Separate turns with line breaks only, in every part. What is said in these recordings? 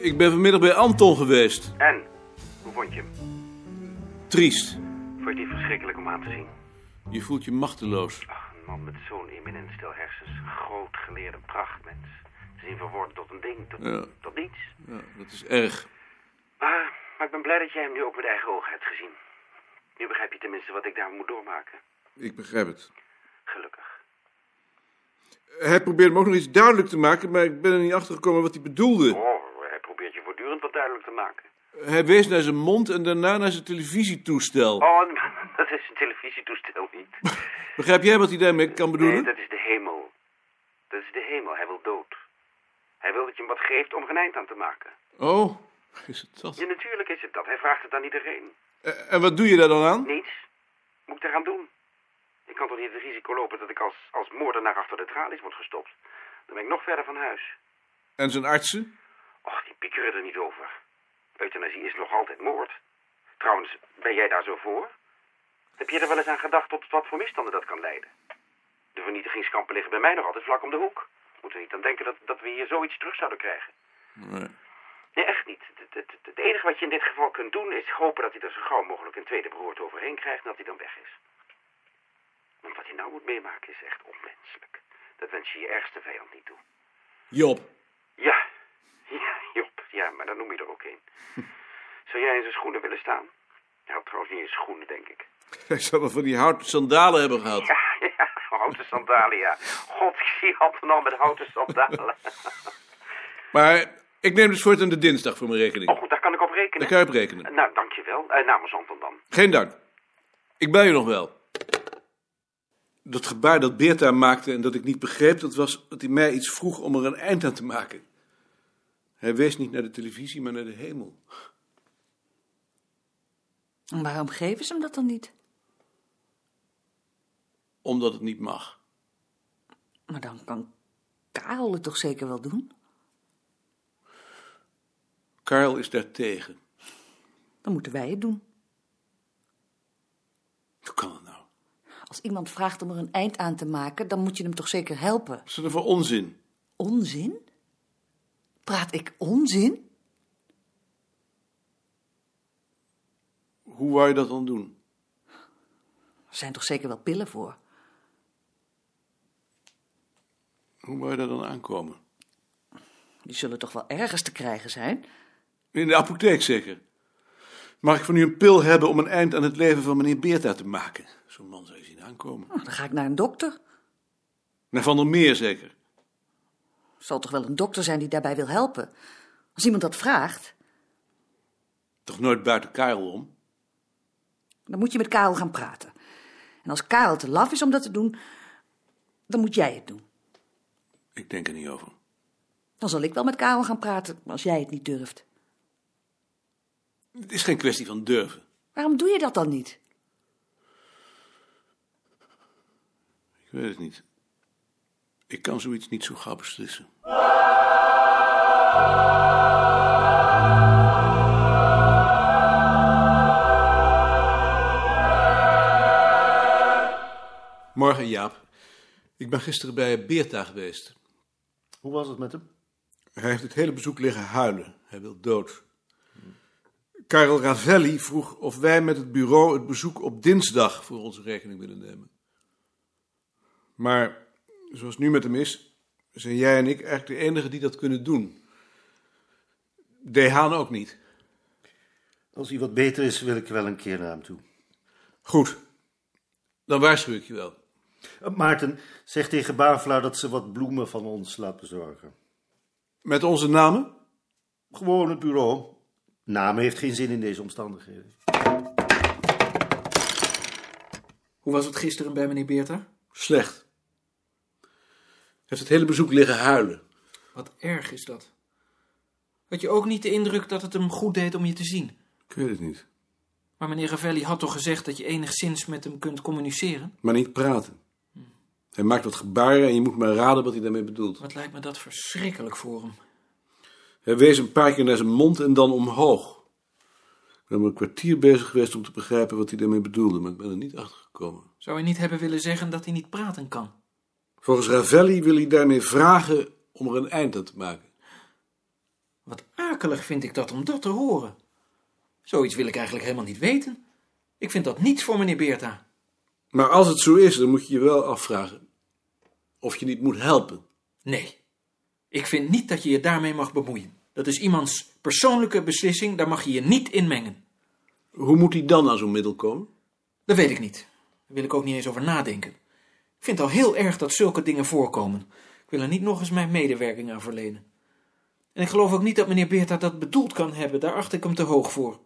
Ik ben vanmiddag bij Anton geweest.
En? Hoe vond je hem?
Triest.
Vond je die verschrikkelijk om aan te zien?
Je voelt je machteloos.
Ach, een man met zo'n eminent stel hersens. Groot geleerde prachtmens. Te zien verworden tot een ding, tot,
Ja.
tot niets.
Ja, dat is erg.
Maar, maar ik ben blij dat jij hem nu ook met eigen ogen hebt gezien. Nu begrijp je tenminste wat ik daar moet doormaken.
Ik begrijp het.
Gelukkig.
Hij probeerde me ook nog iets duidelijk te maken, maar ik ben er niet achter gekomen wat hij bedoelde.
Oh, hij probeert je voortdurend wat duidelijk te maken.
Hij wees naar zijn mond en daarna naar zijn televisietoestel.
Oh, dat is een televisietoestel niet.
Begrijp jij wat hij daarmee kan
Nee,
bedoelen?
dat is de hemel. Dat is de hemel. Hij wil dood. Hij wil dat je hem wat geeft om er een eind aan te maken.
Oh, is het dat?
Ja, natuurlijk is het dat. Hij vraagt het aan iedereen.
Eh, En wat doe je daar dan aan?
Niets. Moet ik daaraan doen? Ik kan toch niet het risico lopen dat ik als, als moordenaar achter de tralies word gestopt? Dan ben ik nog verder van huis.
En zijn artsen?
Och, die piekeren er niet over. Euthanasie is nog altijd moord. Trouwens, ben jij daar zo voor? Heb je er wel eens aan gedacht tot wat voor misstanden dat kan leiden? De vernietigingskampen liggen bij mij nog altijd vlak om de hoek. Moeten we niet aan denken dat, dat we hier zoiets terug zouden krijgen?
Nee.
Nee, echt niet. Het, het, het, het enige wat je in dit geval kunt doen is hopen dat hij er zo gauw mogelijk een tweede beroerte overheen krijgt en dat hij dan weg is. Want wat hij nou moet meemaken is echt onmenselijk. Dat wens je je ergste vijand niet toe.
Job.
Ja, ja, Job, ja, maar dan noem je er ook een. Zou jij in zijn schoenen willen staan? Hij had trouwens niet eens schoenen, denk ik.
Hij zal wel van die houten sandalen hebben gehad.
Ja, ja, houten sandalen, ja. God, ik zie Anton al met houten sandalen.
Maar ik neem dus voortaan de dinsdag voor mijn
Oh,
rekening.
goed, daar kan ik op rekenen.
Daar kan je op rekenen.
Nou, dankjewel. Eh, namens Anton dan.
Geen dank. Ik bel je nog wel. Dat gebaar dat Beerta maakte en dat ik niet begreep, dat was dat hij mij iets vroeg om er een eind aan te maken. Hij wees niet naar de televisie, maar naar de hemel.
En Waarom geven ze hem dat dan niet?
Omdat het niet mag.
Maar dan kan Karel het toch zeker wel doen?
Karel is daartegen.
Dan moeten wij het doen.
Hoe kan dat nou?
Als iemand vraagt om er een eind aan te maken, dan moet je hem toch zeker helpen?
Wat is dat nou voor onzin?
Onzin? Praat ik onzin?
Hoe wou je dat dan doen?
Er zijn toch zeker wel pillen voor?
Hoe wou je daar dan aankomen?
Die zullen toch wel ergens te krijgen zijn?
In de apotheek zeker. Mag ik van u een pil hebben om een eind aan het leven van meneer Beerta te maken? Zo'n man zou je zien aankomen.
Nou, dan ga ik naar een dokter.
Naar Van der Meer zeker.
Er zal toch wel een dokter zijn die daarbij wil helpen? Als iemand dat vraagt,
Toch nooit buiten Karel om?
dan moet je met Karel gaan praten. En als Karel te laf is om dat te doen, dan moet jij het doen.
Ik denk er niet over.
Dan zal ik wel met Karel gaan praten, als jij het niet durft.
Het is geen kwestie van durven.
Waarom doe je dat dan niet?
Ik weet het niet. Ik kan zoiets niet zo gauw beslissen. Morgen, Jaap. Ik ben gisteren bij Beerta geweest.
Hoe was het met hem?
Hij heeft het hele bezoek liggen huilen. Hij wil dood. Karel Ravelli vroeg of wij met het bureau het bezoek op dinsdag voor onze rekening willen nemen. Maar zoals nu met hem is, zijn jij en ik eigenlijk de enigen die dat kunnen doen. De Haan ook niet.
Als hij wat beter is, wil ik wel een keer naar hem toe.
Goed, dan waarschuw ik je wel.
Eh, Maarten, zeg tegen Bavelaar dat ze wat bloemen van ons laat bezorgen.
Met onze namen?
Gewoon het bureau. Naam heeft geen zin in deze omstandigheden.
Hoe was het gisteren bij meneer Beerta?
Slecht. Hij heeft het hele bezoek liggen huilen.
Wat erg is dat. Had je ook niet de indruk dat het hem goed deed om je te zien?
Ik weet het niet.
Maar meneer Ravelli had toch gezegd dat je enigszins met hem kunt communiceren?
Maar niet praten. Hij maakt wat gebaren en je moet maar raden wat hij daarmee bedoelt.
Wat lijkt me dat verschrikkelijk voor hem.
Hij wees een paar keer naar zijn mond en dan omhoog. Ik ben maar een kwartier bezig geweest om te begrijpen wat hij daarmee bedoelde, maar ik ben er niet achter gekomen.
Zou hij niet hebben willen zeggen dat hij niet praten kan?
Volgens Ravelli wil hij daarmee vragen om er een eind aan te maken.
Wat akelig vind ik dat om dat te horen. Zoiets wil ik eigenlijk helemaal niet weten. Ik vind dat niets voor meneer Beerta.
Maar als het zo is, dan moet je je wel afvragen of je niet moet helpen.
Nee, ik vind niet dat je je daarmee mag bemoeien. Dat is iemands persoonlijke beslissing, daar mag je je niet in mengen.
Hoe moet hij dan aan zo'n middel komen?
Dat weet ik niet. Daar wil ik ook niet eens over nadenken. Ik vind het al heel erg dat zulke dingen voorkomen. Ik wil er niet nog eens mijn medewerking aan verlenen. En ik geloof ook niet dat meneer Beerta dat bedoeld kan hebben. Daar acht ik hem te hoog voor.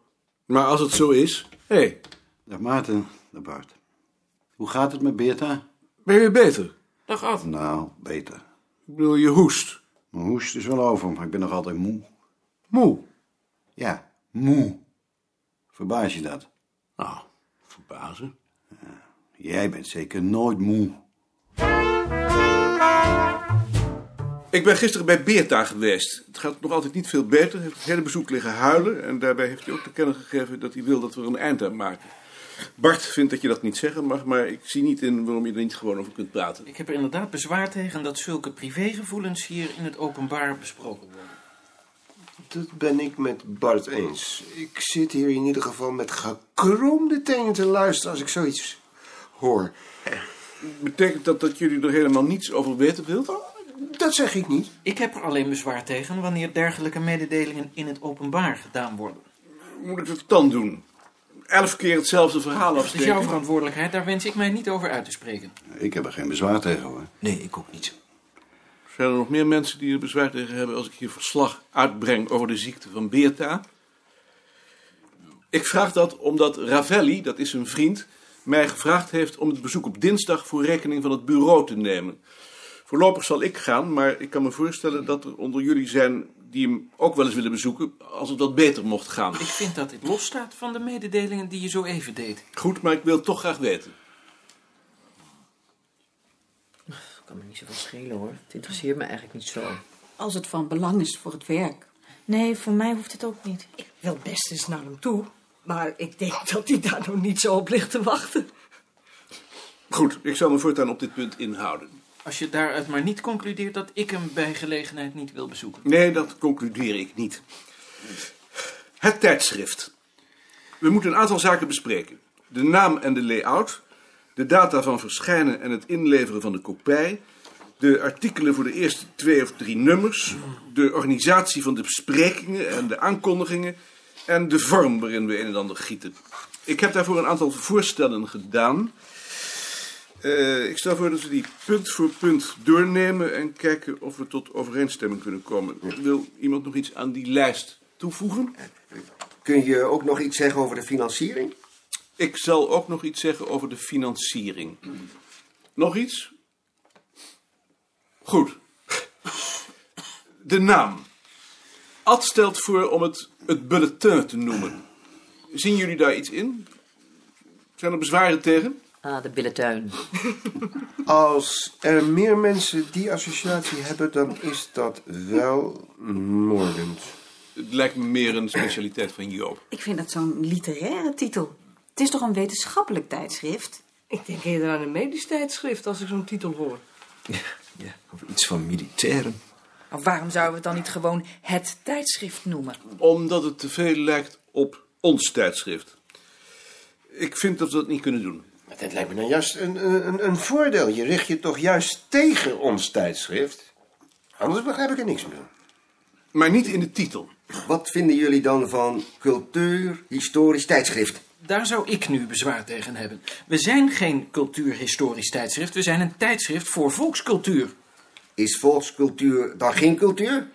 Maar als het zo is, hé, hey,
Dag Maarten, dag Bart. Hoe gaat het met Beerta?
ben je weer beter?
Dag Ad.
Nou, beter.
Ik bedoel, je hoest.
Mijn hoest is dus wel over, maar ik ben nog altijd moe.
Moe.
Ja, moe. Verbaas je dat?
Nou, verbazen.
Jij bent zeker nooit moe.
Ik ben gisteren bij Beerta geweest. Het gaat nog altijd niet veel beter. Hij heeft het hele bezoek liggen huilen. En daarbij heeft hij ook te kennen gegeven dat hij wil dat we er een eind aan maken. Bart vindt dat je dat niet zeggen mag, maar ik zie niet in waarom je er niet gewoon over kunt praten.
Ik heb er inderdaad bezwaar tegen dat zulke privégevoelens hier in het openbaar besproken worden.
Dat ben ik met Bart eens. Ik zit hier in ieder geval met gekromde tenen te luisteren als ik zoiets hoor.
Betekent dat dat jullie er helemaal niets over weten wilt?
Dat zeg ik niet.
Ik heb er alleen bezwaar tegen wanneer dergelijke mededelingen in het openbaar gedaan worden.
Moet ik het dan doen? Elf keer hetzelfde verhaal
Dat is
afsteken?
Dus jouw verantwoordelijkheid, daar wens ik mij niet over uit te spreken.
Ik heb er geen bezwaar tegen hoor.
Nee, ik ook niet.
Zijn er nog meer mensen die er bezwaar tegen hebben als ik hier verslag uitbreng over de ziekte van Beerta? Ik vraag dat omdat Ravelli, dat is een vriend, mij gevraagd heeft om het bezoek op dinsdag voor rekening van het bureau te nemen. Voorlopig zal ik gaan, maar ik kan me voorstellen dat er onder jullie zijn die hem ook wel eens willen bezoeken als het wat beter mocht gaan.
Ik vind dat dit losstaat van de mededelingen die je zo even deed.
Goed, maar ik wil het toch graag weten.
Dat kan me niet zoveel schelen hoor. Het interesseert me eigenlijk niet zo.
Als het van belang is voor het werk.
Nee, voor mij hoeft het ook niet.
Ik wil best eens naar hem toe. Maar ik denk dat hij daar nog niet zo op ligt te wachten.
Goed, ik zal me voortaan op dit punt inhouden.
Als je daaruit maar niet concludeert dat ik hem bij gelegenheid niet wil bezoeken.
Nee, dat concludeer ik niet. Het tijdschrift. We moeten een aantal zaken bespreken. De naam en de layout, de data van verschijnen en het inleveren van de kopij, de artikelen voor de eerste twee of drie nummers, de organisatie van de besprekingen en de aankondigingen en de vorm waarin we een en ander gieten. Ik heb daarvoor een aantal voorstellen gedaan. Eh, ik stel voor dat we die punt voor punt doornemen en kijken of we tot overeenstemming kunnen komen. Wil iemand nog iets aan die lijst toevoegen?
Kun je ook nog iets zeggen over de financiering?
Ik zal ook nog iets zeggen over de financiering. Nog iets? Goed. De naam. Ad stelt voor om het het bulletin te noemen. Zien jullie daar iets in? Zijn er bezwaren tegen?
Ah, de billentuin.
Als er meer mensen die associatie hebben, dan is dat wel moordend.
Het lijkt me meer een specialiteit van Joop.
Ik vind dat zo'n literaire titel. Het is toch een wetenschappelijk tijdschrift?
Ik denk eerder aan een medisch tijdschrift als ik zo'n titel hoor.
Ja, of iets van militairen.
Maar waarom zouden we het dan niet gewoon het tijdschrift noemen?
Omdat het te veel lijkt op ons tijdschrift. Ik vind dat we dat niet kunnen doen.
Maar dat lijkt me nou juist een, een, een voordeel. Je richt je toch juist tegen ons tijdschrift? Anders begrijp ik er niks meer.
Maar niet in de titel.
Wat vinden jullie dan van cultuur, historisch tijdschrift?
Daar zou ik nu bezwaar tegen hebben. We zijn geen cultuurhistorisch tijdschrift, we zijn een tijdschrift voor volkscultuur.
Is volkscultuur dan geen cultuur?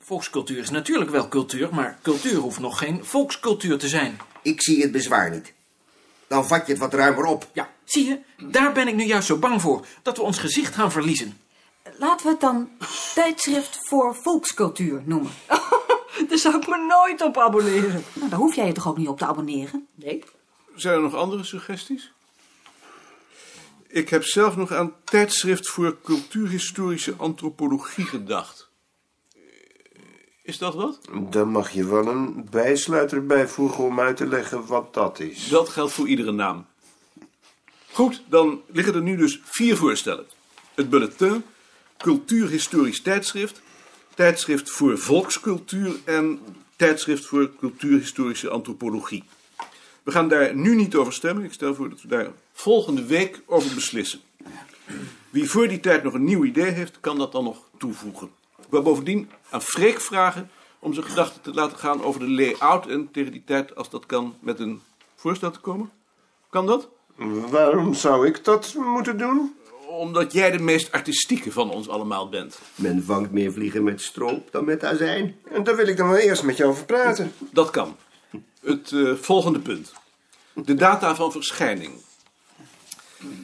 Volkscultuur is natuurlijk wel cultuur, maar cultuur hoeft nog geen volkscultuur te zijn.
Ik zie het bezwaar niet. Dan vat je het wat ruimer op.
Ja, zie je, daar ben ik nu juist zo bang voor, dat we ons gezicht gaan verliezen.
Laten we het dan tijdschrift voor volkscultuur noemen.
Daar zou ik me nooit op abonneren.
Nou, daar hoef jij je toch ook niet op te abonneren?
Nee?
Zijn er nog andere suggesties? Ik heb zelf nog aan tijdschrift voor cultuurhistorische antropologie gedacht. Eh, Is dat wat?
Dan mag je wel een bijsluiter bijvoegen om uit te leggen wat dat is.
Dat geldt voor iedere naam. Goed, dan liggen er nu dus vier voorstellen. Het bulletin, cultuurhistorisch tijdschrift, Tijdschrift voor Volkscultuur en Tijdschrift voor Cultuurhistorische Antropologie. We gaan daar nu niet over stemmen. Ik stel voor dat we daar volgende week over beslissen. Wie voor die tijd nog een nieuw idee heeft, kan dat dan nog toevoegen. Ik wil bovendien aan Freek vragen om zijn gedachten te laten gaan over de layout en tegen die tijd, als dat kan, met een voorstel te komen. Kan dat?
Waarom zou ik dat moeten doen?
Omdat jij de meest artistieke van ons allemaal bent.
Men vangt meer vliegen met stroop dan met azijn.
En daar wil ik dan wel eerst met jou over praten.
Dat kan. Het eh, volgende punt. De data van verschijning.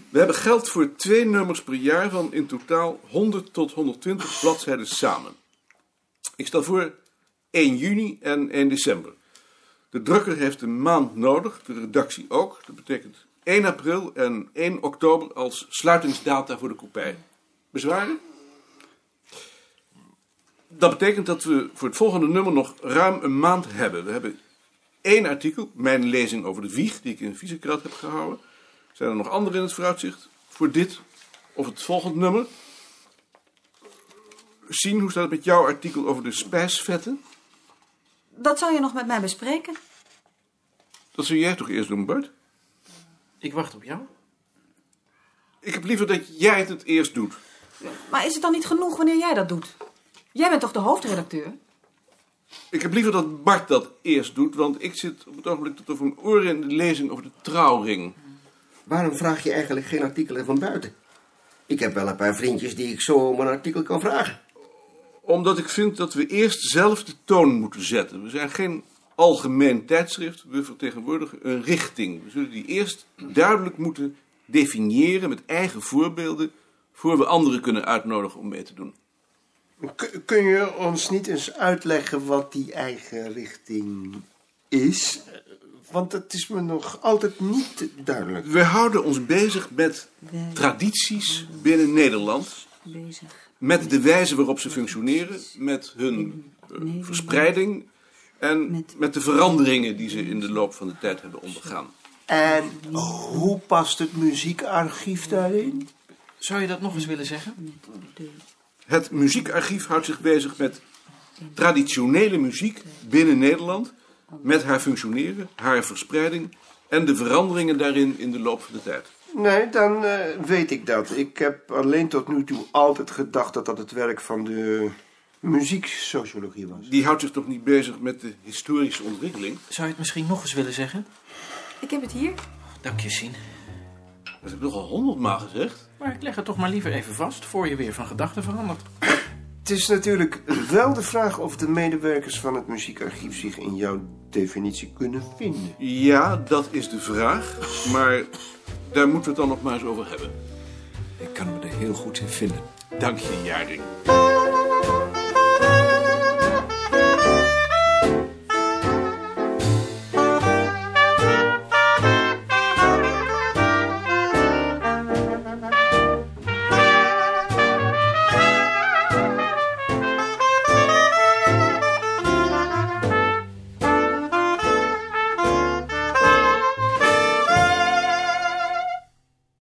We hebben geld voor twee nummers per jaar van in totaal 100 tot 120 bladzijden samen. Ik stel voor 1 juni en 1 december. De drukker heeft een maand nodig, de redactie ook. Dat betekent 1 april en 1 oktober als sluitingsdata voor de kopij. Bezwaren? Dat betekent dat we voor het volgende nummer nog ruim een maand hebben. We hebben één artikel, mijn lezing over de wieg, die ik in Visegrad heb gehouden. Zijn er nog andere in het vooruitzicht voor dit of het volgende nummer? Zien, hoe staat het met jouw artikel over de spijsvetten?
Dat zou je nog met mij bespreken.
Dat zou jij toch eerst doen, Bart?
Ik wacht op jou.
Ik heb liever dat jij het het eerst doet.
Maar is het dan niet genoeg wanneer jij dat doet? Jij bent toch de hoofdredacteur?
Ik heb liever dat Bart dat eerst doet, want ik zit op het ogenblik tot over mijn oren in de lezing over de trouwring.
Waarom vraag je eigenlijk geen artikelen van buiten? Ik heb wel een paar vriendjes die ik zo om een artikel kan vragen.
Omdat ik vind dat we eerst zelf de toon moeten zetten. We zijn geen algemeen tijdschrift, we vertegenwoordigen een richting. We zullen die eerst duidelijk moeten definiëren met eigen voorbeelden, voor we anderen kunnen uitnodigen om mee te doen.
K- kun je ons niet eens uitleggen wat die eigen richting is? Want dat is me nog altijd niet duidelijk.
We houden ons bezig met tradities binnen Nederland,
Bezig.
met de wijze waarop ze functioneren, met hun eh, verspreiding en met de veranderingen die ze in de loop van de tijd hebben ondergaan.
En hoe past het muziekarchief daarin?
Zou je dat nog eens willen zeggen?
Het muziekarchief houdt zich bezig met traditionele muziek binnen Nederland, met haar functioneren, haar verspreiding en de veranderingen daarin in de loop van de tijd.
Nee, dan eh, weet ik dat. Ik heb alleen tot nu toe altijd gedacht dat dat het werk van de muzieksociologie was.
Die houdt zich toch niet bezig met de historische ontwikkeling?
Zou je het misschien nog eens willen zeggen?
Ik heb het hier.
Dank je, Sien.
Dat heb ik al honderdmaal gezegd.
Maar ik leg het toch maar liever even vast, voor je weer van gedachten verandert.
Het is natuurlijk wel de vraag of de medewerkers van het muziekarchief zich in jouw definitie kunnen vinden.
Ja, dat is de vraag, maar daar moeten we het dan nog maar eens over hebben.
Ik kan me er heel goed in vinden.
Dank je, Jaring.